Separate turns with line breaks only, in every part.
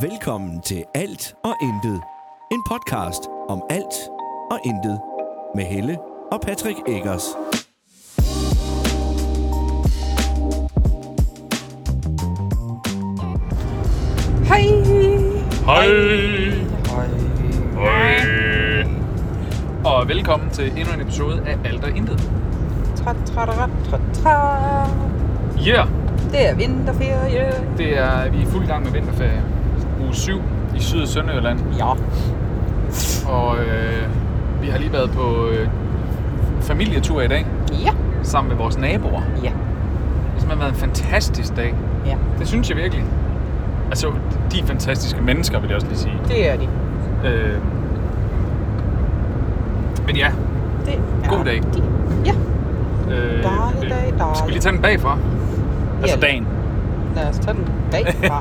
Velkommen til Alt og Intet. En podcast om alt og intet. Med Helle og Patrick Eggers.
Hej!
Hej. Hej. Og velkommen til endnu en episode af Alt og Intet.
Tra, tra, tra, tra, tra.
Ja, yeah.
Det er vinterferie.
det er, vi er fuld gang med vinterferie. Uge 7 i Syd- og Sønderjylland.
Ja.
Og øh, vi har lige været på øh, familietur i dag,
Ja.
sammen med vores naboer.
Ja.
Det har simpelthen været en fantastisk dag.
Ja.
Det synes jeg virkelig. Altså, de er fantastiske mennesker, vil jeg også lige sige.
Det er de.
Øh, men ja,
Det er
God dag.
De. Ja.
øh,
Dejlig
øh,
dag, dejlig.
skal vi lige tage den bagfra? Altså
Ja.
dagen.
Lad os tage den bagfra.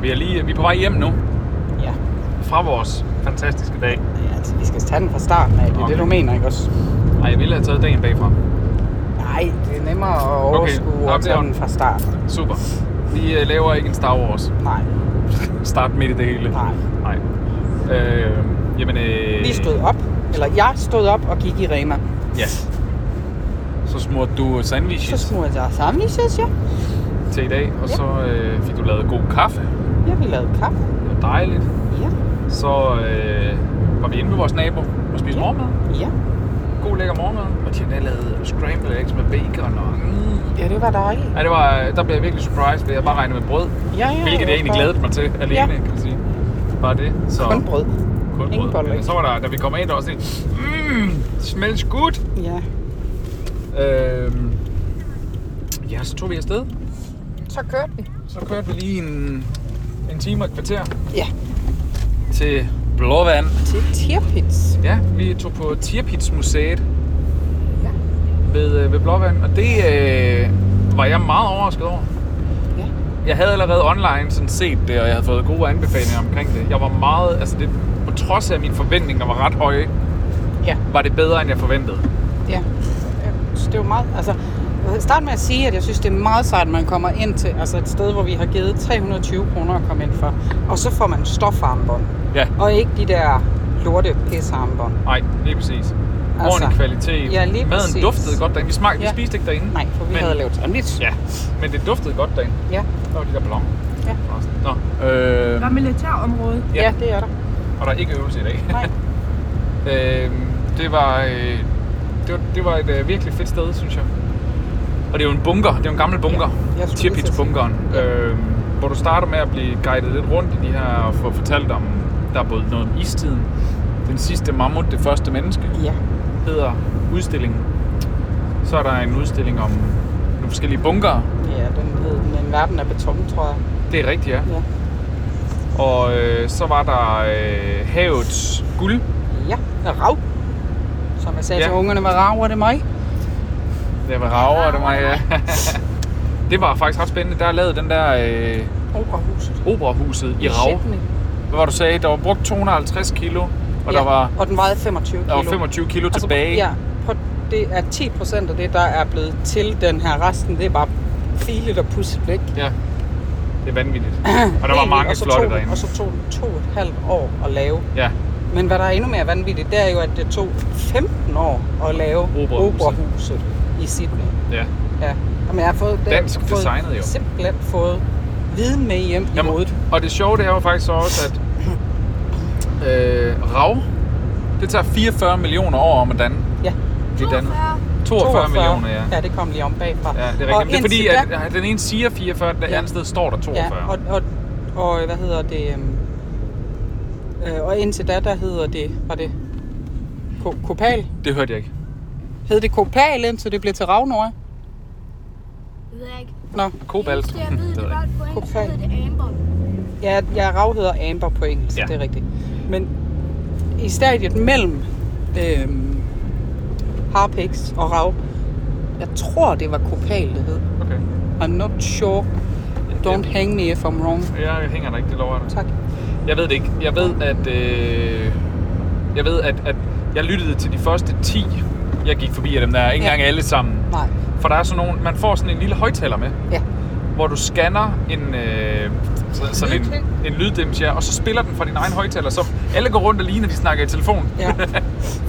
Vi er, lige, vi er på vej hjem nu
ja.
fra vores fantastiske dag.
ja. Altså, vi skal tage den fra starten af. Det er okay.
Okay.
det, du mener, ikke også?
Nej, jeg ville have taget dagen bagfra.
Nej, det er nemmere at overskue okay.
Nå,
at tage
det er-
den fra start.
Super. Vi øh, laver ikke en Star Wars.
Nej.
Start midt i det hele.
Nej.
Nej. Øh, jamen, øh,
Vi stod op. Eller jeg stod op og gik i Rema.
Ja. Så smurte du
Så
sandwiches
smurte jeg samlises, ja.
til i dag, og så øh, fik du lavet god kaffe.
Ja, vi lavede kaffe.
Det var dejligt.
Ja.
Så øh, var vi inde ved vores nabo og spiste morgenmad.
Ja.
God lækker morgenmad. Og de havde lavet scrambled eggs med bacon. Og, mm.
Ja, det var dejligt.
Ja, det var, der blev jeg virkelig surprised, ved at jeg bare regnede med brød.
Ja, ja.
Hvilket jeg egentlig
var-
glædede mig til alene,
Ja.
ja. kan man sige. Bare det. Så,
Kun brød.
Kun
Ingen boller,
brød.
ikke?
Så var der, da vi kom ind, der var sådan et, mmm, smells good.
Ja.
Øhm, ja, så tog vi afsted.
Så kørte vi.
Så kørte vi lige en, en time og et kvarter
Ja.
til Blåvand.
Til Tirpitz.
Ja, vi tog på Tirpitz-museet
Ja.
ved, øh, ved Blåvand, og det øh, var jeg meget overrasket over.
Ja.
jeg havde allerede online sådan set det, og jeg havde fået gode anbefalinger omkring det. Jeg var meget, altså det, på trods af mine forventninger var ret høje,
Ja.
var det bedre, end jeg forventede.
Ja. Jeg synes, det er jo meget, altså, jeg vil starte med at sige, at jeg synes, det er meget sejt, at man kommer ind til altså et sted, hvor vi har givet 320 kroner at komme ind for. Og så får man stofarmbånd.
Ja,
Og ikke de der lorte pissearmbånd.
nej, lige præcis. Altså, Ordentlig kvalitet.
ja, lige
Maden
præcis.
duftede godt derinde. Vi, smagte,
Ja.
vi spiste ikke derinde.
Nej, for vi
men,
Men... havde lavet sandwich.
Ja, men det duftede godt derinde.
Ja.
Der var de der balloner.
Ja.
forresten. Nå, øh,
Der er militærområde.
Ja.
Ja. ja, det er der.
og der er ikke øvelse i dag.
Nej.
Øh, det var, øh, det var, det var et øh, virkelig fedt sted, synes jeg. Og det er jo en bunker, det er jo en gammel bunker,
Ja, jeg skulle lige til at sige.
Tirpitz-bunkeren,
Ja.
øh, hvor du starter med at blive guidet lidt rundt i de her og få fortalt om, der er både noget om istiden, den sidste mammut, det første menneske,
Ja.
hedder udstillingen. Så er der en udstilling om nogle forskellige bunker,
Ja, den hed den en verden af beton, tror jeg.
det er rigtigt, ja.
Ja.
Og øh, så var der øh, havets guld,
Ja, og rav. Som jeg sagde ja.
Ja.
til ungerne, hvad rager det mig?
Det var
Ah,
rager, det var ja. Det var faktisk ret spændende. Der lavede den der øh,
Operahuset.
operahuset i Rav.
Sydney.
Hvad var du sagde? Der var brugt 250 kilo, og der var,
og den vejede 25 kilo. Altså,
der var 25 kilo tilbage.
Ja, på, det er 10 procent af det, der er blevet til den her. Resten, det er bare filet og pusset væk.
ja. Det er vanvittigt. Og der var mange
og så
flotte
tog,
derinde.
Og så tog det to og et halvt år at lave.
Ja,
Men hvad der er endnu mere vanvittigt, det er jo, at det tog 15 år at lave
Operahuset.
operahuset i Sydney.
ja.
Ja. Jamen, jeg har fået, det-
Dansk
fået,
designet jo.
simpelthen fået viden med hjem i
Jamen,
hovedet.
og det sjove, det er jo faktisk så også, at øh, Rav, det tager 44 millioner år om at danne.
Ja.
Det dannet. 42 millioner, ja.
Ja, det kom lige om bagfra.
Ja, det er
Og
rigtigt. Det er fordi,
indtil da-
at den ene siger 44, det
Ja.
andet sted står der 42.
Ja, og, og, og hvad hedder det? øhm, Øh, og indtil da, der hedder det, var det Ko- Kopal?
Det hørte jeg ikke.
Hed det Kopal, indtil det blev til Ravnor?
Det ved jeg ikke.
Nå,
Kobalt.
Det, jeg ved, det var et point, så
Kobalt.
hed det Amber.
ja, ja Rav hedder Amber på engelsk, ja.
Ja.
det er rigtigt. Men i stadiet mellem øh, Harpix og Rav, jeg tror, det var Kopal, det hed.
Okay.
I'm not sure. Don't hang me if I'm wrong.
Jeg hænger der ikke, det lover jeg dig.
Tak.
Jeg ved det ikke. Jeg ved, at... Øh, jeg ved, at, at jeg lyttede til de første 10, jeg gik forbi af dem der. Ikke
Ja.
engang alle sammen.
Nej.
For der er sådan nogle... Man får sådan en lille højtaler med.
Ja.
hvor du scanner en, øh, så- sådan en,
Lydting.
en lyddims, ja, og så spiller den fra din egen højtaler, så alle går rundt og ligner, de snakker i telefon.
Ja.
Fordi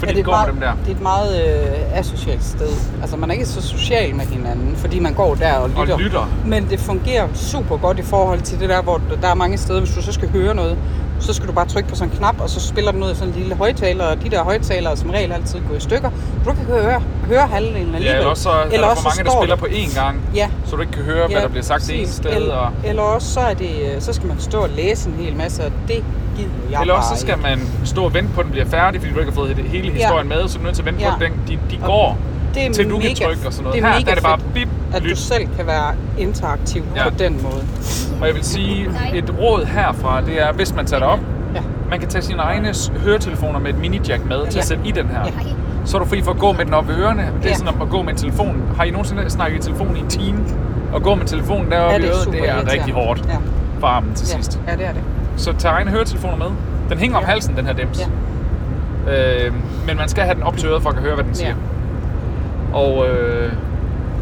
det
de
er
går
meget,
med dem der.
Det er et meget øh, asocialt sted. Altså, man er ikke så social med hinanden, fordi man går der og lytter.
Og lytter.
Men det fungerer super godt i forhold til det der, hvor der er mange steder, hvis du så skal høre noget, så skal du bare trykke på sådan en knap, og så spiller den ud af sådan en lille højtaler, og de der højtalere er som regel altid går i stykker. Du kan høre, høre halvdelen alligevel.
Ja, eller også så er der for mange, der
står
spiller
det-
på én gang,
Ja.
så du ikke kan høre, hvad der bliver sagt det ene
præcis.
sted.
Eller,
Og,
eller også så, er det, øh, så skal man stå og læse en hel masse, og det gider jeg
eller
bare
også så skal
ikke.
man stå og vente på, at den bliver færdig, fordi du ikke har fået hele historien med, så du er nødt til at vente på,
Ja.
at den, de, de
Og
går,
det er
til du
mega-
kan trykke og sådan noget.
det er
Her
mega
der er det bare
fedt,
bip,
At du
lyt.
selv kan være interaktiv på
Ja.
den måde.
Og jeg vil sige, et råd herfra, det er, hvis man tager det op,
Ja.
man kan tage sine egne s- høretelefoner med et mini-jack med til
Ja.
at sætte i den her.
Ja.
Så er du fri for at gå med den op ved ørerne. Det er
Ja.
sådan at gå med en telefon. Har I nogensinde snakket i telefon i en time? At gå med telefonen deroppe
Ja,
i
det er
øret,
super
det er rigtig
irriterende.
hårdt
Ja.
for armen til
Ja.
sidst.
ja, det er det.
Så tag egne høretelefoner med. Den hænger om
Ja.
halsen, den her dims. Øh, men man skal have den op til øret, for at kan høre, hvad den siger. Og øh,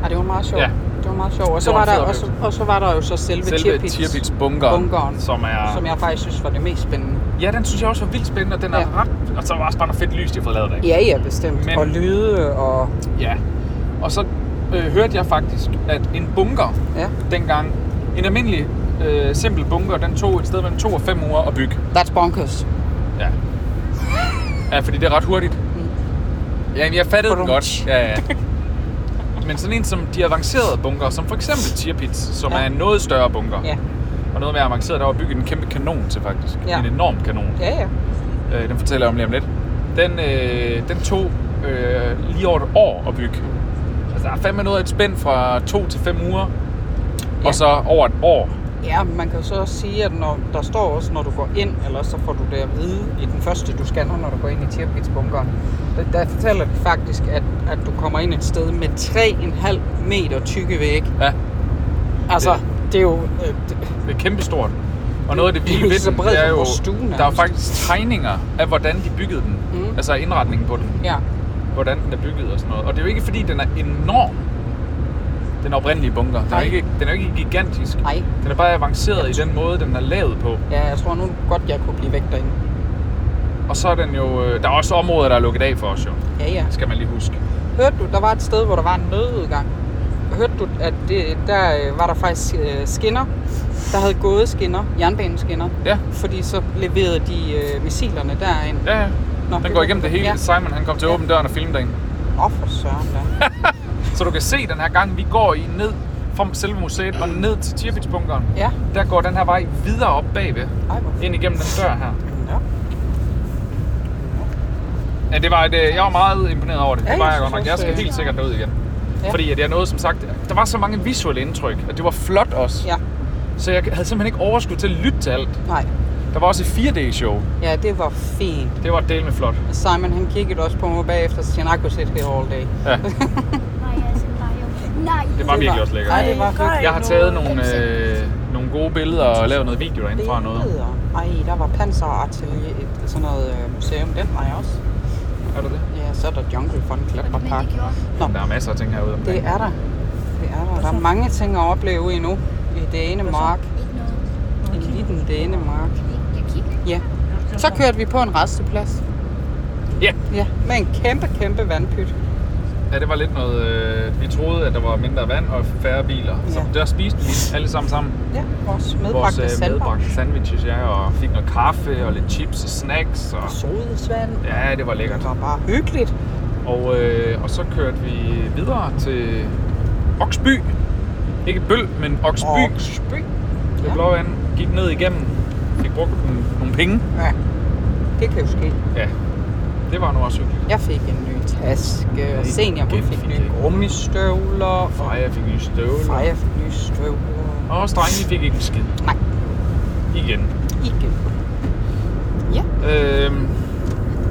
Ja, det var meget sjovt.
Ja.
Ja. Det var meget sjovt. Og så,
Det var
var
en
der,
fed
og, så, og så var der jo så selve,
selve
Tirpitz,
Tirpitz bunkeren,
bunkeren,
som er...
som jeg faktisk synes var det mest spændende.
Ja, den synes jeg også var vildt spændende, og den er
Ja.
ret... Og så var der også bare noget fedt lys, de har fået lavet der.
Ja, ja, bestemt.
Men-
Men... Og lyde og...
ja. Og så øh, hørte jeg faktisk, at en bunker
Ja.
dengang... En almindelig, øh, simpel bunker, den tog et sted mellem 2 og 5 uger at bygge.
That's bonkers.
Ja. Ja, fordi det er ret hurtigt. Ja, jeg fattede den
Badum.
godt. Ja, ja. Men sådan en som de avancerede bunker, som for eksempel Tirpitz, som
Ja.
er en noget større bunker,
Ja.
og noget mere avanceret, der var bygget en kæmpe kanon til faktisk.
Ja.
En enorm kanon.
Ja, ja.
Øh, den fortæller jeg om lige om lidt. Den, øh, den tog øh, lige over et år at bygge. Altså, der er fandme noget af et spænd fra to til fem uger,
Ja.
og så over et år.
Ja, men man kan jo så også sige, at når, der står også, når du går ind, eller så får du det at vide i den første, du scanner, når du går ind i Tirpitz-bunkeren. Der, der fortæller de faktisk, at, at du kommer ind et sted med 3,5 meter tykke vægge.
Ja,
Altså,
Det-
det, det er jo... Øh, det,
det er kæmpestort. Og noget af det
Det er
vilde
jo
ved
så
den,
bredt
det er
som
jo,
vores stue
der er
nærmest.
faktisk tegninger af, hvordan de byggede den.
Mm.
Altså indretningen på den.
ja,
hvordan den er bygget og sådan noget. Og det er jo ikke fordi, den er enorm, den oprindelige bunker. Den er,
Nej.
ikke, den er jo ikke gigantisk.
nej.
Den er bare avanceret i den måde, den er lavet på.
Ja, jeg tror nu godt, jeg kunne blive væk derinde.
Og så er den jo... øh, Der er også områder, der er lukket af for os jo.
Ja, ja.
Det skal man lige huske.
Hørte du, der var et sted, hvor der var en nødudgang. Hørte du, at det, der øh, var der faktisk øh, skinner, der havde gået skinner, jernbaneskinner,
Ja,
fordi så leverede de øh, missilerne derind.
ja, ja.
Nå,
Den går igennem det hele.
Ja.
Simon han kom til at åbne døren og filme den.
Åh, oh, for søren da.
Så du kan se den her gang, vi går i ned fra selve museet og ned til Tirpitz-bunkeren.
Ja.
Der går den her vej videre op bagved,
Ej, hvor fint.
ind igennem den dør her.
Ja.
Ja, det var et, øh, jeg var meget imponeret over det.
Ja,
det var
jeg
jeg godt
synes
nok. Jeg
også,
skal
øh,
helt sikkert derud igen. Ja.
Ja.
Fordi at jeg nåede, som sagt, der var så mange visuelle indtryk, at det var flot også.
ja,
Så jeg havde simpelthen ikke overskud til at lytte til alt.
nej.
Der var også et 4D-show.
Ja, det var fint.
Det var del med flot.
Simon, han kiggede også på mig bagefter, og siger, I could sit here all day.
Ja,
Nej, jeg skal bare jo. Nej.
det var virkelig også lækkert.
Ej, det var hyggeligt.
Jeg har taget nogle, øh, nogle gode billeder og lavet noget video derinde fra noget.
Billeder. Ej, der var panserartilleri, et sådan noget øh, museum. Den var jeg også.
Er du det?
Ja, så er der Jungle Fun
Men det
Klatrepark.
gjorde.
Nå,
Der er masser af ting herude
det
omkring.
er der. Det er der. Der er mange ting at opleve endnu i det ene mark.
Ikke noget.
I lille det ene mark.
Ikke- Jeg kigger.
Ja. Så kørte vi på en resteplads.
Ja.
Ja, med en kæmpe, kæmpe vandpyt.
ja, det var lidt noget... Øh, vi troede, at der var mindre vand og færre biler. Så
Ja.
der spiste vi alle sammen sammen.
Ja, vores medbragte
Vores øh,
sandbar.
medbragte sandwiches, ja, og fik noget kaffe og lidt chips og snacks. Og...
Sodesvand.
Ja, det var lækkert.
Det var bare hyggeligt.
Og, øh, og så kørte vi videre til Oksby. Ikke Bøl, men Oksby.
Oksby.
Det
Ja.
blå vand. Gik ned igennem. Fik brugt n- nogle penge.
Ja, det kan jo ske.
Ja, det var nu også hyggeligt.
Jeg fik en ny taske, og
det
senior hun fik
fik
nye
jeg.
gummistøvler, og
Freja fik nye støvler.
Freja fik nye støvler.
Og også drengene fik ikke en skid.
Nej,
Igen.
ikke. Ja,
Øhm,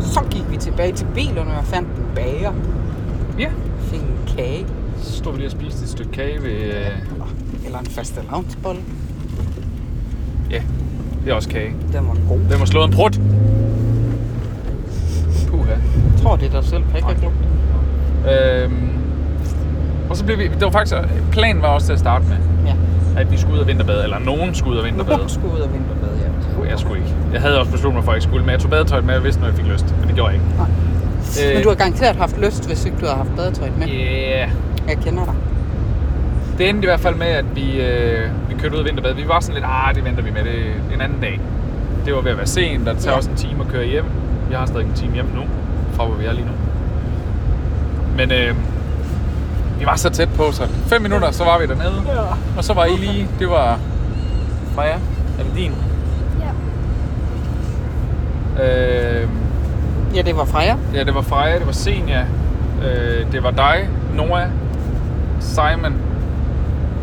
så gik vi tilbage til bilerne og fandt en bager.
ja,
Fik en kage,
så stod vi lige og spiste et stykke kage ved... Øh,
eller en faste lavnsbolle.
ja, det er også kage.
Den var god.
Hvem har slået en prut? Puha.
Jeg tror, det er dig selv, kan ikke
Nej.
jeg
Øhm, og så blev vi... Det var faktisk... Planen var også til at starte med.
Ja.
at vi skulle ud og vinterbade, eller nogen skulle ud og
Nogen
vinterbade.
skulle ud og vinterbade, ja.
Jeg skulle ikke. Jeg havde også besluttet mig for, at jeg ikke skulle, men jeg tog badetøjet med, og vidste, når jeg fik lyst. Men det gjorde jeg ikke.
Nej.
Øh,
Men du har garanteret haft lyst, hvis ikke du havde haft badetøjet med.
Ja.
Jeg kender dig.
Det endte i hvert fald med, at vi, øh, vi kørte ud og vinterbade. Vi var sådan lidt, ah, det venter vi med det en anden dag. Det var ved at være sent, og det tager
Ja.
også en time at køre hjem. Jeg har stadig en time hjem nu, fra hvor vi er lige nu. Men øh, vi var så tæt på, så 5 minutter, så var vi dernede. Og så var I lige, det var Freja, er det din?
Ja.
Øh,
Ja, det var Freja.
ja, det var Freja, det var Senja, øh, det var dig, Noah, Simon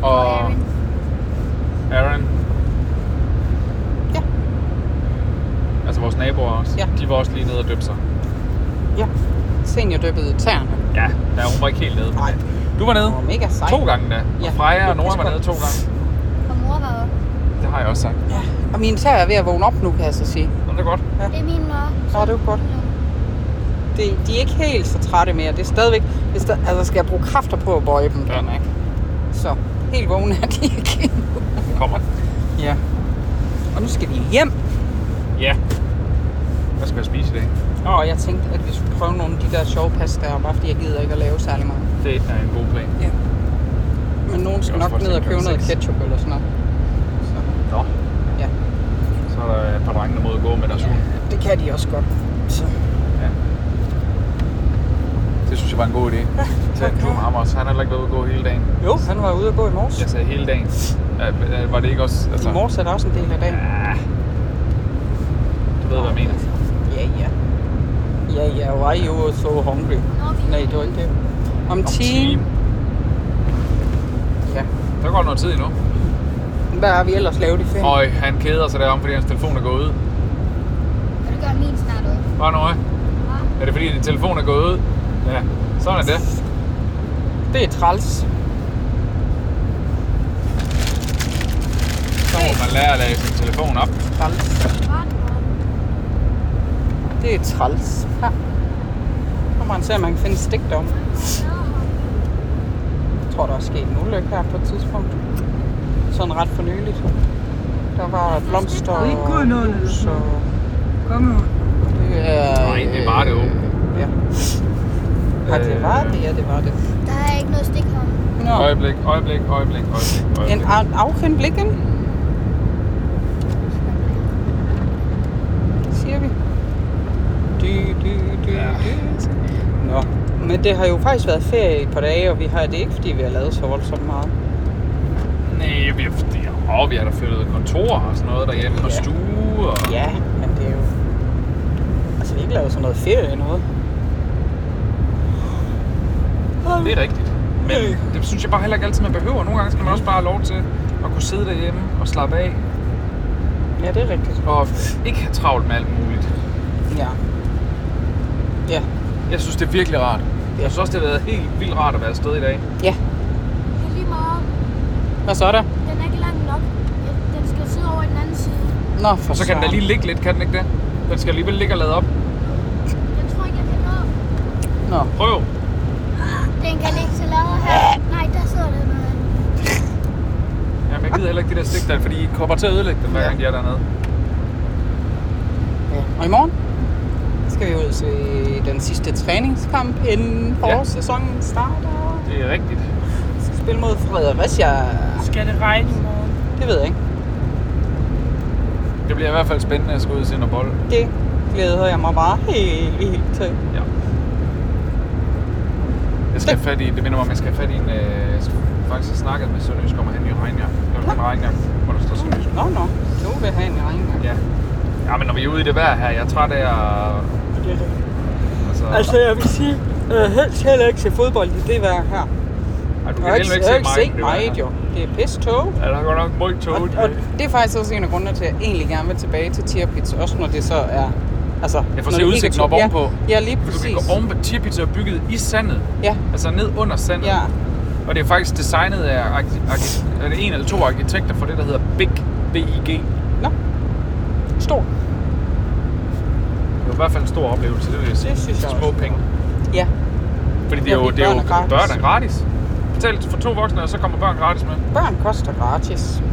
og,
Og Aaron.
Aaron.
Ja.
Altså vores naboer også.
Ja.
De var også lige nede og døbte sig.
Ja. Senior dyppede tæerne.
Ja. Ja, hun var ikke helt nede.
Nej.
Du var nede
Hun var mega sej.
to gange da.
Ja.
Og Freja og
Det
Nora
passer
var nede
godt.
to gange.
Og mor var oppe.
Det har jeg også sagt.
Ja. Og mine tæer er ved at vågne op nu, kan jeg så sige.
Nå, det er godt.
Det er min mor.
Nå, det er jo godt. Det, de er ikke helt så trætte mere. Det er stadigvæk... Det er stad, altså, skal jeg bruge kræfter på at bøje dem,
Ja.
ja. ikke? Så helt vågne er de ikke endnu.
Nu kommer den.
Ja. Og nu skal vi hjem.
Ja. Hvad skal jeg spise i dag?
Og jeg tænkte, at vi skulle prøve nogle af de der sjove pastaer, bare fordi jeg gider ikke at lave særlig meget.
Det er en god plan.
Men nogen skal
Det er også
nok ned og
fortsat
købe noget
klokken seks.
ketchup eller sådan noget. Så,
Nå.
ja.
Så er der et par drenge, der må ud og gå med deres hund.
Det kan de også godt. Så.
Ja. Det synes jeg var en god idé. Ja, Tag en tur med ham også. Han har heller ikke været ude at gå hele dagen.
Jo, han var ude at gå i morges.
Jeg sagde hele dagen. Ja, men, øh, Var det ikke også...
I morges er der også en del af dagen.
Ja. Ah. Du ved, hvad jeg mener.
Ja, ja. Ja, ja, why you were so hungry? Nej, det var ikke det. Om,
Om
time.
time.
Ja.
Der går noget tid endnu.
Hvad har vi ellers lavet i ferien?
Og han keder sig derom, fordi hans telefon er gået ud.
Det gør min snart ud.
Bare noget. Er det fordi, din telefon er gået ud? Ja, sådan er det.
Det er træls.
Så må man lære at lade sin telefon op.
Træls.
Hva?
Det er træls. Her. Nu må man se, om man kan finde stik derom. Jeg tror, der er sket en ulykke her på et tidspunkt. Sådan ret for nyligt. Der var blomster og
Ikke gået noget ned.
hus og...
Kom nu.
Det er,
Nej, det var det jo.
Ja. Ja,
Øh.
det var det. Ja, det var det.
Der er ikke noget stik her.
Nå.
Øjeblik, øjeblik, øjeblik, øjeblik,
En
øjeblik.
af- afkendt blikken, siger vi. Du, du, du,
Ja.
du. Nå, men det har jo faktisk været ferie i et par dage, og vi har det er ikke, fordi vi har lavet så voldsomt meget.
Nej, vi har, åh, vi har da flyttet kontor og sådan noget derhjemme, og
Ja.
stue og...
Ja, men det er jo... Altså, vi har ikke lavet sådan noget ferie noget.
Det er rigtigt. Men det synes jeg bare heller ikke altid, man behøver. Nogle gange skal
Mm.
man også bare have lov til at kunne sidde derhjemme og slappe af.
Ja, det er rigtigt.
Og ikke have travlt med alt muligt.
Ja. Ja,
Jeg synes, det er virkelig rart. Jeg synes også, det har været helt vildt rart at være afsted i dag.
ja.
Det er lige meget.
Hvad så er der?
Den er ikke lang nok. Den skal sidde over i den anden side.
Nå, for
Og så kan den da
søren.
lige ligge lidt, kan den ikke det? Den skal alligevel ligge og lade op.
Jeg tror ikke, jeg kan nå.
Nå,
Prøv.
Den kan ikke så lade her. Nej, der sidder den noget.
Jamen, jeg gider heller ikke de der stik der, fordi I kommer til at ødelægge dem, hver gang de er dernede.
ja. Og i morgen skal vi ud til den sidste træningskamp, inden forårssæsonen starter.
Det er rigtigt.
Vi skal spille mod Fredericia.
Skal det regne i morgen?
Det ved jeg ikke.
Det bliver i hvert fald spændende at skulle ud og se noget bold.
Det glæder jeg mig bare helt vildt til.
Ja. Jeg skal have fat i, det minder mig om, jeg skal have fat i en, øh, faktisk jeg snakkede med Sønderjysk om, at han i regnjakke. Jeg vil have en regnjakke, hvor der står Sønderjysk.
Nå, nå. Du vil have en regngang.
Ja. Ja, men når vi er ude i det vejr her, jeg er træt af at... Altså, altså
jeg vil sige, øh, helst heller ikke se fodbold i det vejr her.
ej, du
Jeg
kan
har ikke,
heller ikke
jeg har ikke
se mig.
set meget jo. Det er pisse tog.
Ja, der er godt nok meget
Og,
tog.
og det er faktisk også en af grundene til, at jeg egentlig gerne vil tilbage til Tirpitz, også når det så er... Altså,
Jeg får
når
se
det ikke
udsigten
er
op
tog-
ovenpå.
Ja, ja lige
For du kan
præcis.
gå oven på Tirpitz og bygget i sandet.
Ja,
Altså ned under sandet.
ja.
Og det er faktisk designet af arki- arki- er det en eller to arkitekter for det, der hedder BIG. B-I-G.
Nå. Stor.
Det var i hvert fald en stor oplevelse, det vil jeg sige.
Det synes jeg
Små
også.
penge.
Ja.
Fordi det
Ja,
er jo,
fordi
det er jo
børn er gratis.
børn er gratis. betalt for to voksne, og så kommer børn gratis med.
Børn koster gratis.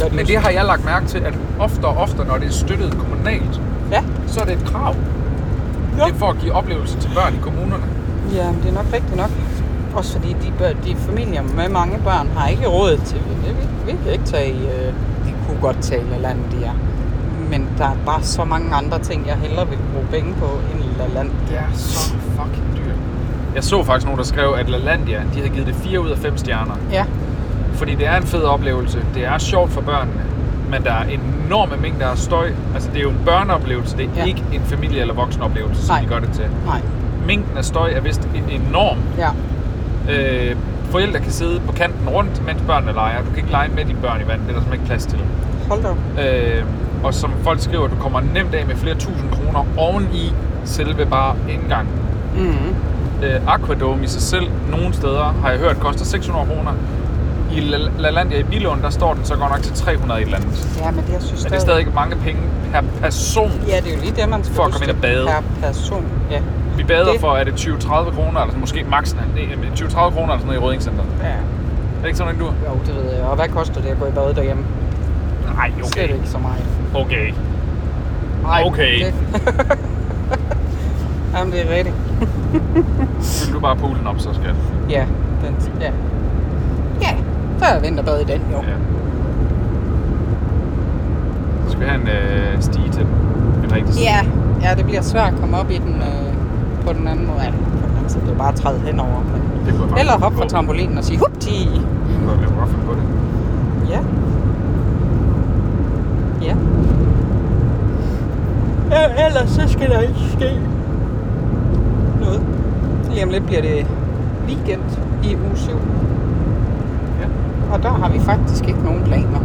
Ja,
Men det har jeg lagt mærke til, at oftere og oftere, når det er støttet kommunalt,
Ja,
så er det et krav.
Ja.
Det er for at give oplevelser til børn i kommunerne.
ja men det er nok rigtigt nok. Også fordi de, bør, de familier med mange børn har ikke råd til det. Vi, vi kan ikke tage i, øh, de kunne godt tage i landet, de er. Men der er bare så mange andre ting, jeg hellere vil bruge penge på end Lalandia.
Det er så fucking dyrt. Jeg så faktisk nogen, der skrev, at LaLandia, de havde givet det 4 ud af 5 stjerner.
Ja,
Fordi det er en fed oplevelse. Det er sjovt for børnene. Men der er enorme mængder af støj. Altså, det er jo en børneoplevelse. Det er
Ja.
ja. ikke en familie- eller voksenoplevelse, som
Nej.
de gør det til.
nej,
Mængden af støj er vist en- enorm.
ja.
Øh, forældre kan sidde på kanten rundt, mens børnene leger. Du kan ikke lege med dine børn i vandet. Det er der simpelthen ikke plads til.
Hold da op.
Øh, og som folk skriver, du kommer nemt af med flere tusind kroner oven i selve bare indgangen.
Mm.
Øh, Aquadome i sig selv, nogle steder, har jeg hørt, koster 600 kroner. I La- LaLandia i Bilund, der står den så godt nok til 300 et eller andet.
Ja, men det jeg synes
Men det er stadig mange penge per person.
Ja, det er jo lige det, man skal
For at komme
huske.
ind og bade.
Per person, ja.
Vi bader
Det-
for, er det 20-30 kroner, eller sådan, måske maks nej, det er 20-30 kroner eller sådan noget i Rødingcenteret.
ja.
Er det ikke sådan, en du?
Jo, det ved jeg. Og hvad koster det at gå i bad derhjemme?
Nej, okay.
Slet ikke så meget.
Okay.
Ej,
Okay.
Det... Jamen, det er rigtigt.
Fyld du bare poolen op, så skat.
Ja, den, ja. Ja, så er vinterbad i den, jo.
Ja. Så skal vi have en øh, stige til den. En rigtig stige.
Ja, ja det bliver svært at komme op i den øh, på den anden måde. Ja, på den anden side, det er bare at træde henover. Men...
Det kunne jeg
Eller hoppe fra
på
trampolinen og sige, hupti!
Jeg kunne godt finde på det.
Ja. Ja. ja. Ellers så skal der ikke ske noget. Lige om lidt bliver det weekend i uge 7.
Ja.
Og der har vi faktisk ikke nogen planer.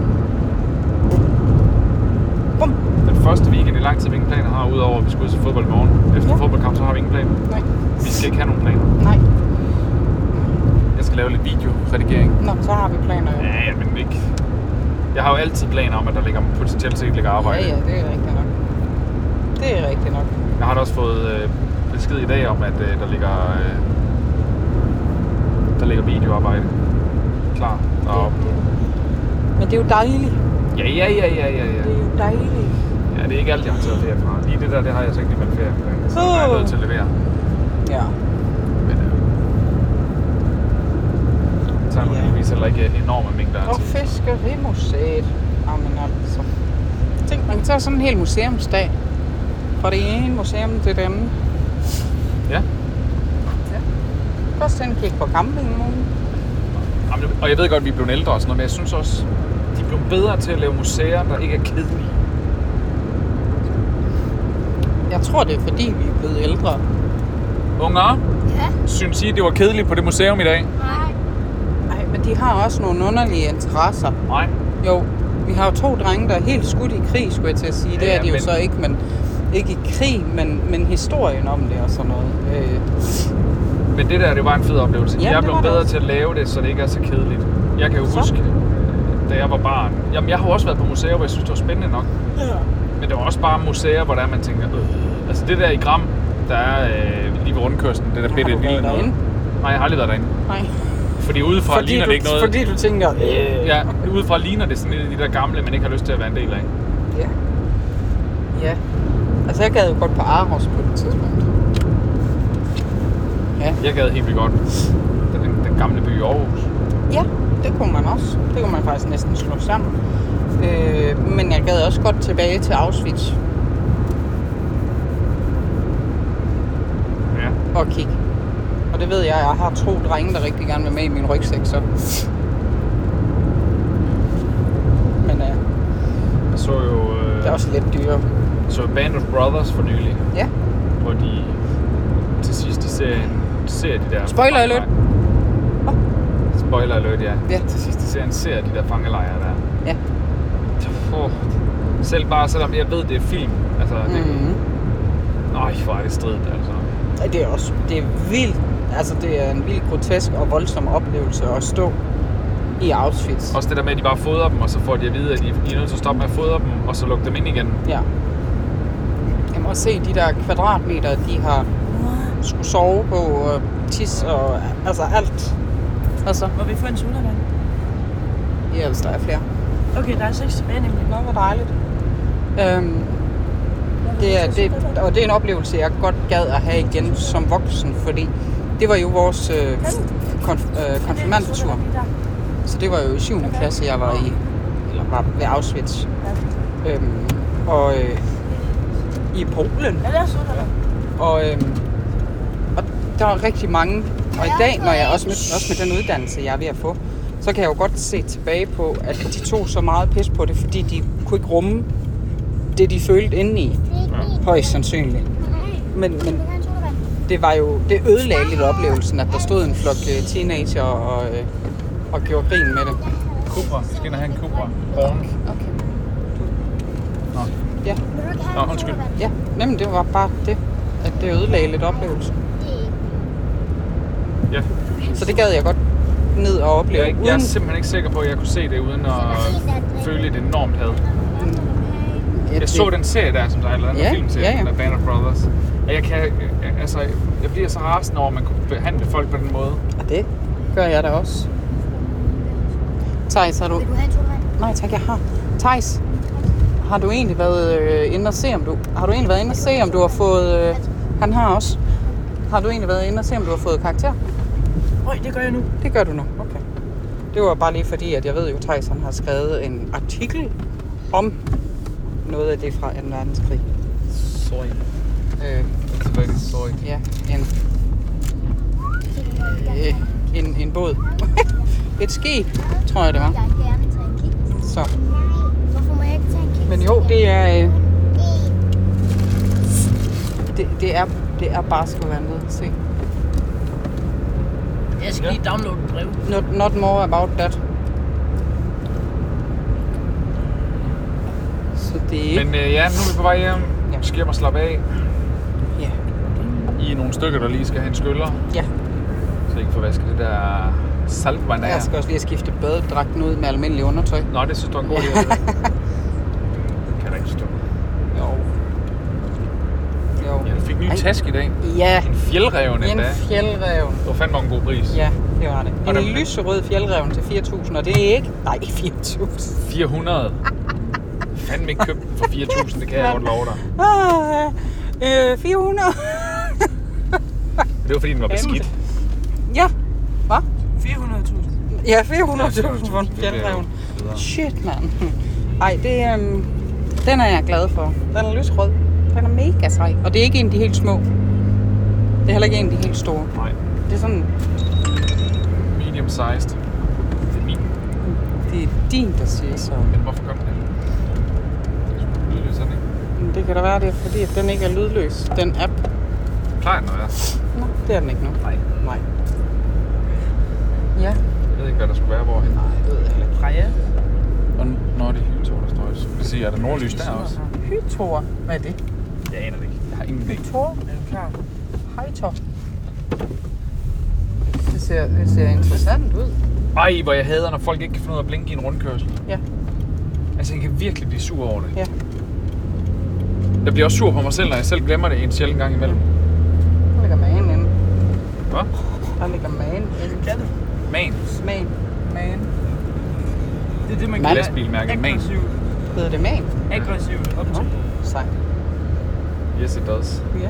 Bum.
Den første weekend i lang tid, vi ingen planer har, udover at vi skal ud til fodbold i morgen. Efter
Ja.
ja. fodboldkamp, så har vi ingen planer.
Nej.
Vi skal ikke have nogen planer.
Nej.
Jeg skal lave lidt videoredigering.
Nå, så har vi planer jo.
Ja, ja, men ikke. Jeg har jo altid planer om, at der ligger potentielt set ligger arbejde.
ja, det er rigtigt nok. Det er rigtigt nok.
Jeg har da også fået øh, besked i dag om, at øh, der ligger øh, der ligger videoarbejde klar deroppe.
Men det er jo dejligt.
Ja, ja, ja, ja, ja, ja.
Det er jo dejligt.
Ja, det er ikke alt, jeg har taget ferie fra. Lige det der, det har jeg så ikke lige meldt ferie fra. Så jeg er nødt til at levere.
Ja.
Men øh, så har man
Ja.
heldigvis heller ikke enorme mængder af
Og
tid.
fiskerimuseet. Jamen altså. Tænk, man kan tage sådan en hel museumsdag. Fra det ene museum til det andet.
Ja.
Først en kig på campingvognen.
Jamen, og jeg ved godt, at vi er blevet ældre og sådan noget, men jeg synes også, de er blevet bedre til at lave museer, der ikke er kedelige.
Jeg tror, det er fordi, vi er blevet ældre.
Unger,
Ja,
synes I, det var kedeligt på det museum i dag?
nej.
Nej, men de har også nogle underlige interesser.
Nej.
Jo, vi har jo to drenge, der er helt skudt i krig, skulle jeg til at sige. Ja,
Ja,
det er de jo
men-
så ikke, men ikke i krig, men, men historien om det og sådan noget. Øh,
Men det der, det var en fed oplevelse.
Ja,
jeg er
det var
blevet
det
bedre
også.
til at lave det, så det ikke er så kedeligt. Jeg kan jo
Så?
så? huske, øh, da jeg var barn. Jamen, jeg har jo også været på museer, hvor jeg synes, det var spændende nok.
ja.
Men det var også bare museer, hvor der er, man tænker, øh, altså det der i Gram, der er øh, lige ved rundkørslen, det der
Har
bitte
du
lille
været
noget.
derinde?
Nej, jeg har aldrig været derinde.
Nej.
Fordi udefra ligner
du,
det ikke noget.
fordi du tænker, øh,
Ja, udefra ligner det sådan lidt af de der gamle, man ikke har lyst til at være en del af.
Ja. Ja. Altså, jeg gad jo godt på Aros på et tidspunkt.
Jeg gad helt vildt godt den, den, den gamle by i Aarhus.
Ja, det kunne man også. Det kunne man faktisk næsten slå sammen. Øh, men jeg gad også godt tilbage til Auschwitz
Ja.
og kigge. Og det ved jeg, jeg har to drenge, der rigtig gerne vil med i min rygsæk, så... Men øh,
Jeg så jo
det er
øh,
også lidt dyrere.
så Band of Brothers for nylig,
Ja.
hvor de til sidst i serien ser de der...
Spoiler alert.
fangelejre. Spoiler alert, ja.
Ja.
Til sidst i serien ser de der fangelejre der.
Ja.
Puh. Selv bare, selvom jeg ved, det er film. Altså, det, mm.
Mm-hmm.
Øj, hvor er det stridt, altså.
Det er også det er vildt. Altså, det er en vild grotesk og voldsom oplevelse at stå i Auschwitz.
Også det der med, at de bare fodrer dem, og så får de at vide, at de, de er nødt til at stoppe med at fodre dem, og så lukke dem ind igen.
Ja. Jeg må se de der kvadratmeter, de har skulle sove på, og tisse og altså alt. Altså,
Må vi få en sodavand?
ja, hvis der er flere.
Okay, der er seks tilbage nemlig.
Nå, hvor dejligt. Øhm, det er, det, og det er en oplevelse, jeg godt gad at have igen som voksen, fordi det var jo vores øh, konf- øh, konfirmandetur. Så det var jo i 7. klasse, jeg var i, eller var ved Auschwitz. Øhm, og øh, i Polen.
Ja, der er sodavand.
Og, øhm, og der er rigtig mange. Og i dag, når jeg også med, også med den uddannelse, jeg er ved at få, så kan jeg jo godt se tilbage på, at de tog så meget pis på det, fordi de kunne ikke rumme det, de følte indeni. Højst sandsynligt. Men, men det var jo, det ødelagde lidt oplevelsen, at der stod en flok øh, teenager og, øh, og gjorde grin med det.
Cobra. Vi skal ind og have en Cobra. Born.
Okay.
Nå.
Ja,
Nå, undskyld.
ja. Jamen, det var bare det, at det ødelagde lidt oplevelsen.
Ja.
Så det gad jeg godt ned og opleve.
Jeg, er ikke- jeg er simpelthen ikke sikker på, at jeg kunne se det, uden at føle et enormt had.
Ja,
Jeg så den serie der, som der er, eller den
Ja,
ja, filmserie,
ja, ja.
ja, ja. der Band of Brothers. Og jeg, kan, jeg- altså, jeg bliver så rasende over, at man kunne behandle folk på den måde.
Og det gør jeg da også. Thijs, har du... Nej, tak, jeg har. Thijs, har du egentlig været øh, inde og se, om du... Har du egentlig været inde og se, om du har fået... Øh, han har også. Har du egentlig været inde og se, om du har fået karakter?
Øj, det gør jeg nu.
Det gør du nu. Okay. Det var bare lige fordi, at jeg ved jo, Thijs han har skrevet en artikel om noget af det fra 2. verdenskrig.
Sorry.
Øh,
Det er rigtig sorry.
ja, en, øh, en, en båd. Et skib, tror jeg det var. Så. Men jo, det er, øh, det, det er, det er bare sgu vanvittigt. Se.
Jeg skal
Ja.
lige downloade et brev.
Not, not more about that. Så det er
Men øh, ja, nu er vi på vej hjem.
Ja.
Ja. Skal hjem og slappe af.
Ja.
I er nogle stykker, der lige skal have en skyller.
Ja.
Så I kan få vasket det der saltvand af.
Jeg skal også lige have skiftet badedragten ud med almindelig undertøj.
Nå, det synes du er en god idé. eller hvad? kan da ikke stå.
Jo. Jo.
Jeg fik en ny
Ej.
taske i dag.
Ja,
En fjeldreven
en
endda.
fjeldrev.
Det var fandme en god pris.
Ja, det var det.
Og
En
den-
lyserød fjeldreven til 4.000, og det er ikke... Nej, 4.000.
400. fandme ikke købt den for 4.000, det kan jeg godt love dig.
Ah, øh, 400.
Det var fordi, den var beskidt.
ja,
400.000.
ja 400.000 for en fjeldreven. Shit, mand. Ej, det, øhm, den er jeg glad for. Den er lysrød. Den er mega sej. Og det er ikke en af de helt små. Det er heller ikke en af de helt store.
Nej,
Det er sådan,
medium sized. Det er min.
det er din, der siger så.
Men hvorfor kom den? Det er sgu lydløs, er den ikke?
Men Det kan da være, det er fordi, at den ikke er lydløs, den app.
Plejer den at være?
Nå, det er den ikke nu.
Nej.
Nej. Ja,
Jeg ved ikke, hvad der skulle være hvorhen.
nej, det ved jeg heller ikke.
Freja.
Og når det er hyltog, der står. Så vil jeg sige, er der nordlys der også?
Hytor. Hvad er det?
Jeg aner det ikke. Jeg har ingen idé.
Hytor? Er du klar? Hytor. Det ser, det ser interessant ud.
Ej, hvor jeg hader, når folk ikke kan finde ud af at blinke i en rundkørsel.
Ja.
Altså, jeg kan virkelig blive sur over det.
Ja.
Jeg bliver også sur på mig selv, når jeg selv glemmer det en sjældent gang imellem.
Der ligger magen inde.
Hvad?
Der ligger magen inde.
Kan du?
Man.
Smagen. Magen.
Det er det, man
Man.
kalder
Lastbilmærket man.
aggressiv.
Hedder det magen?
Aggressiv. optag.
Sejt.
Yes, it does.
Ja.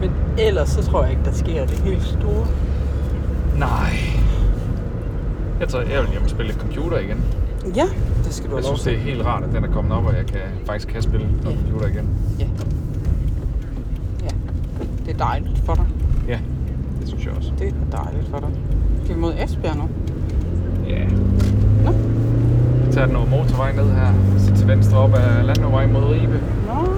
Men ellers så tror jeg ikke, der sker det helt store.
Nej. Jeg tror, jeg vil hjem og spille lidt computer igen.
Ja, det skal du have
Jeg
lov
synes,
til.
det er helt rart, at den er kommet op, og jeg kan, faktisk kan spille noget
Ja.
computer igen.
Ja. Ja, det er dejligt for dig.
Ja, det synes jeg også.
Det er dejligt for dig. Skal vi mod Esbjerg nu?
Ja.
Nå.
Jeg tager den over motorvejen ned her, så til venstre op ad landevejen mod Ribe.
Nå.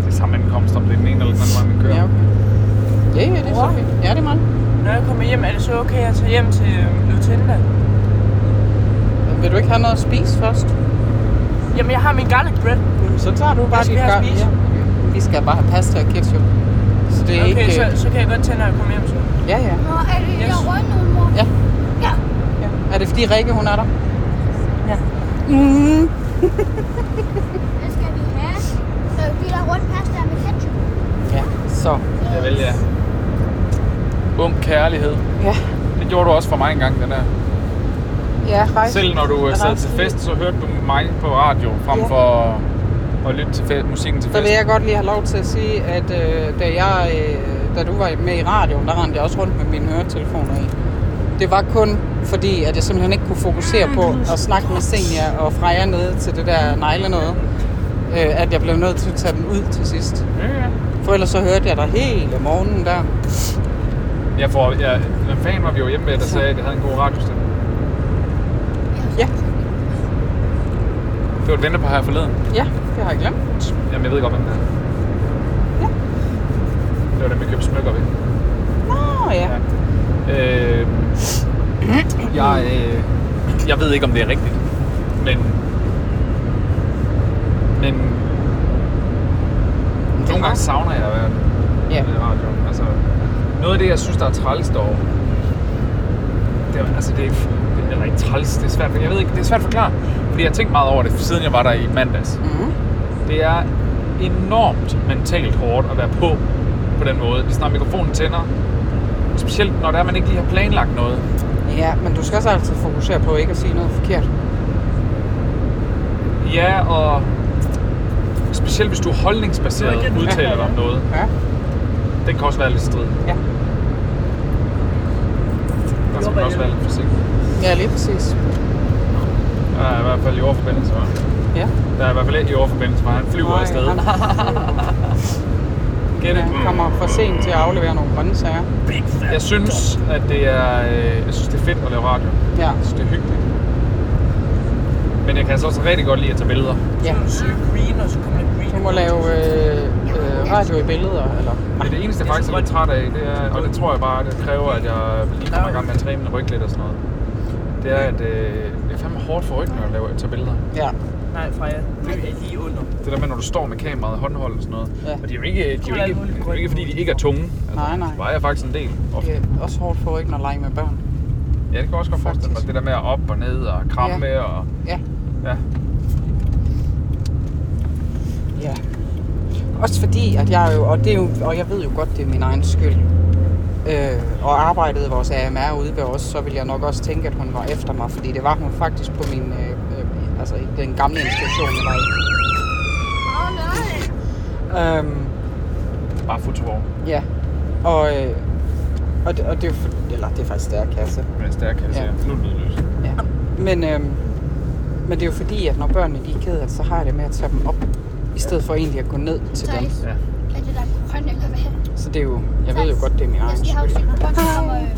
Det er samme ankomst, om det er den ene eller den anden vej, man kører.
Ja, okay. Ja, ja, det er så
Wow.
fint. Ja, det er mig.
Når jeg kommer hjem, er det så okay at tage hjem til øhm, Lutinda?
Vil du ikke have noget at spise først?
Jamen, jeg har min garlic bread.
Så tager du
Hvad
bare
skal
dit
jeg
gør.
spise?
Ja. Vi skal bare have pasta og ketchup. Så det er
Okay,
ikke...
så, så kan jeg godt tage, når jeg kommer hjem så.
Ja, ja. Ja. ja. Er det fordi Rikke, hun er der?
Ja.
Mm.
Hvad skal vi have? Så vi der rundt pasta med ketchup.
Så
Jeg vælger. Ung kærlighed.
ja,
Det gjorde du også for mig engang, den der.
ja rejse.
Selv når du øh, sad til fest, så hørte du mig på radio, frem
Ja.
for at lytte til fe- musikken til
Så
fest.
vil jeg godt lige have lov til at sige, at øh, da, jeg, øh, da du var med i radioen, der rendte jeg også rundt med mine høretelefoner i. Det var kun fordi, at jeg simpelthen ikke kunne fokusere på at snakke med Senja og Freja nede til det der negle noget, øh, at jeg blev nødt til at tage den ud til sidst.
Ja, ja.
For ellers så hørte jeg dig hele morgenen der.
Jeg får, jeg, hvem fanden var vi jo hjemme med, der sagde, at jeg havde en god radiostemme?
Ja,
Det var et ventepar her forleden.
ja, det har jeg glemt.
Jamen, jeg ved godt, hvem det er.
Ja.
Det var dem, vi købte smykker ved.
Nå ja.
Øh, jeg, øh, jeg ved ikke, om det er rigtigt, men... Men... Nogle gange savner jeg at være
Ja.
med radio. Altså, noget af det, jeg synes, der er træls derovre, det er, altså, det er, det er ikke træls, det er svært, jeg ved ikke, det er svært at forklare, fordi jeg har tænkt meget over det, siden jeg var der i mandags.
Mhm.
Det er enormt mentalt hårdt at være på på den måde. Lige snart mikrofonen tænder. Specielt når det er, man ikke lige har planlagt noget.
Ja, men du skal også altid fokusere på ikke at sige noget forkert.
Ja, og specielt hvis du er holdningsbaseret udtaler dig om noget.
Ja.
Den kan også være lidt strid.
Ja.
Der skal man også være lidt forsigtig.
Ja, lige præcis.
Der er i hvert fald i overforbindelse, var.
Ja.
Der er i hvert fald ikke i overforbindelse, var. Han flyver
Nej,
afsted.
han
Get it?
Han kommer for sent til at aflevere nogle grøntsager.
Jeg synes, at det er, øh, jeg synes, det er fedt at lave radio.
Ja.
Jeg synes, det er hyggeligt. Men jeg kan altså også rigtig godt lide at tage billeder.
ja.
Så søge green, og så kommer der green.
Du må lave øh, øh, radio i billeder, eller?
Det er det eneste, jeg faktisk er lidt træt af, det er, og det tror jeg bare, det kræver, at jeg lige kommer i gang med at træne min ryg lidt og sådan noget. Det er, at øh, det er fandme hårdt for ryggen at lave at tage billeder.
Ja.
Nej, Freja, det er lige under.
Det der med, når du står med kameraet i håndhold og sådan noget.
Ja.
Og det er jo ikke, de er jo
Alle
ikke,
mulige
det er jo
grønne
ikke fordi, de ikke er tunge. Altså,
Nej, nej.
De vejer faktisk en del. Ofte.
Det er også hårdt for ikke at lege med børn.
Ja, det kan jeg også godt forestille mig.
Faktisk.
Det der med at op og ned og kramme
Ja.
og...
Ja.
Ja.
Ja. Også fordi, at jeg jo, og, det er jo, og jeg ved jo godt, det er min egen skyld, øh, og arbejdede vores AMR ude ved os, så ville jeg nok også tænke, at hun var efter mig, fordi det var hun faktisk på min, øh, øh, altså i den gamle institution, jeg var i.
Åh, nej.
Øhm,
Bare fotovogn
ja. Og, øh, og, det, og det er jo, for- eller det er faktisk der kasse.
med en stærk kasse.
Ja.
Ja. Nu er det lydløst.
Ja. Men, øhm, men det er jo fordi, at når børnene de er ked af det, så har jeg det med at tage dem op, i stedet for egentlig at gå ned til dem.
Thijs,
Ja.
er det der grøn eller hvad?
Så det er jo, jeg ved jo godt, det er min
Jeg
egen
skal have
skyld.
set grøn, der kommer, øh,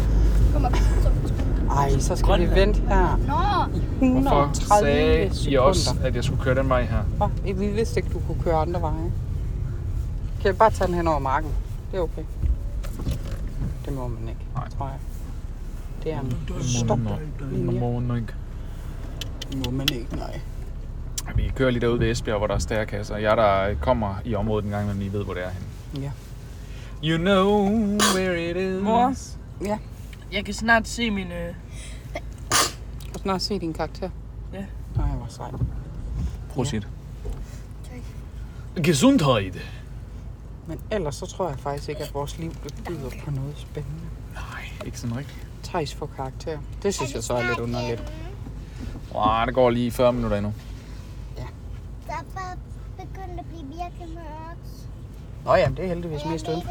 kommer som
Ej, så skal vi vente her
Nå,
130
Hvorfor sagde I
sekunder.
også, at jeg skulle køre den vej her?
Nå, vi vidste ikke, du kunne køre andre veje. Kan vi bare tage den hen over marken? Det er okay. Det må man ikke,
Nej.
tror jeg. Det er en stop. linje.
ikke.
Må man ikke, nej.
Vi kører lige derude ved Esbjerg, hvor der er stærkasser. Jeg, der kommer i området en gang, men I ved, hvor det er henne.
Ja.
You know where it is.
Mor?
Ja.
Jeg kan snart se min... Øh...
Og snart se din karakter.
Ja.
Nej, hvor sej.
Prosit. Gesundheit.
Men ellers så tror jeg faktisk ikke, at vores liv det byder på noget spændende.
Nej, ikke sådan rigtigt.
Thijs får karakter. Det synes jeg så er lidt underligt.
Wow, det går lige 40 minutter endnu.
der er bare begyndt at blive virkelig mørkt.
Nå ja, det er heldigvis mest udenfor.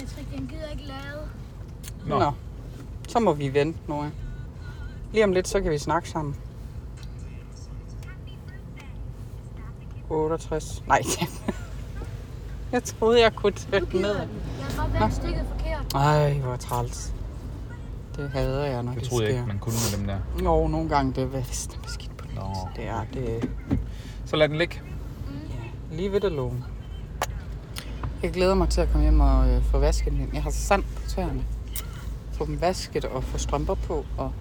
Jeg tror ikke, den gider ikke lade.
Nå.
Nå. Så må vi vente, Nora. Lige om lidt, så kan vi snakke sammen. 68. Nej, jeg troede, jeg kunne
Nu
tælle
gider
ned.
den. Jeg har bare været stikket forkert.
Ej, hvor træls. Det hader jeg, når
Det
det,
troede jeg
sker.
ikke, man kunne med dem der.
Jo, nogle gange, det er vist beskidt på det.
Nå.
Det er det.
Så lad den ligge.
Lige ved det låne. Jeg glæder mig til at komme hjem og øh, få vasket den. Jeg har sand på tæerne. Få dem vasket og få strømper på. Og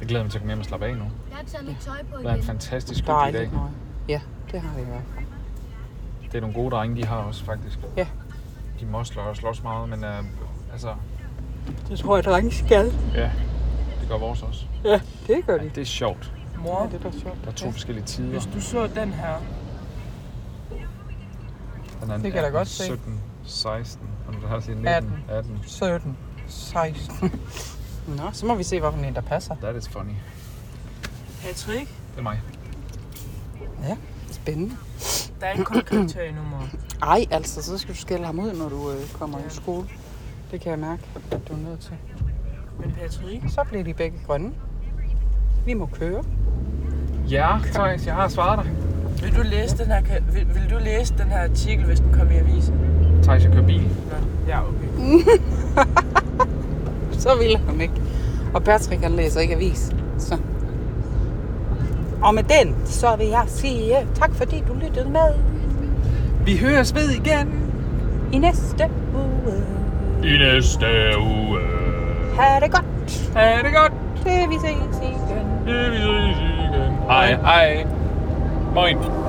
Jeg glæder mig til at komme hjem og slappe af nu.
Jeg har taget mit tøj på
Det er en
igen.
fantastisk hyggelig dag.
dejligt noget. Ja, det har jeg i hvert fald.
Det er nogle gode drenge, de har også faktisk.
Ja.
De mosler og slås meget, men øh, altså,
Det tror jeg, der ikke skal.
ja, det gør vores også.
Ja, det gør
Ja,
de.
det er sjovt.
Mor,
Ja, det er da sjovt.
Der er to
Ja.
forskellige tider.
hvis du så den her,
Den anden
Det kan jeg
18,
da godt se.
17, 16, og der har set 19,
18.
18. 18.
17, 16. Nå, så må vi se, hvilken en, der passer.
That is funny.
Patrick,
Det er mig.
Spændende.
der er ikke kun karakter endnu, mor.
Ej, altså, så skal du skælde ham ud, når du øh, kommer i skole. Det kan jeg mærke, at du er nødt til.
Men Patrick,
Så bliver de begge grønne. Vi må køre.
Ja, Thijs, jeg har svaret dig.
vil du læse den her, ka- vil, vil du læse den her artikel, hvis den kommer i avisen?
Thijs, jeg kører bil.
Nå, ja, okay.
Så vil han ikke. Og Patrick, han læser ikke avis. Så. Og med den, så vil jeg sige øh, tak, fordi du lyttede med
Vi høres ved igen.
i næste uge.
I næste uge.
Ha' det godt.
Ha' det godt.
Det vi ses igen.
Det vi ses igen. Hej, hej. Moin.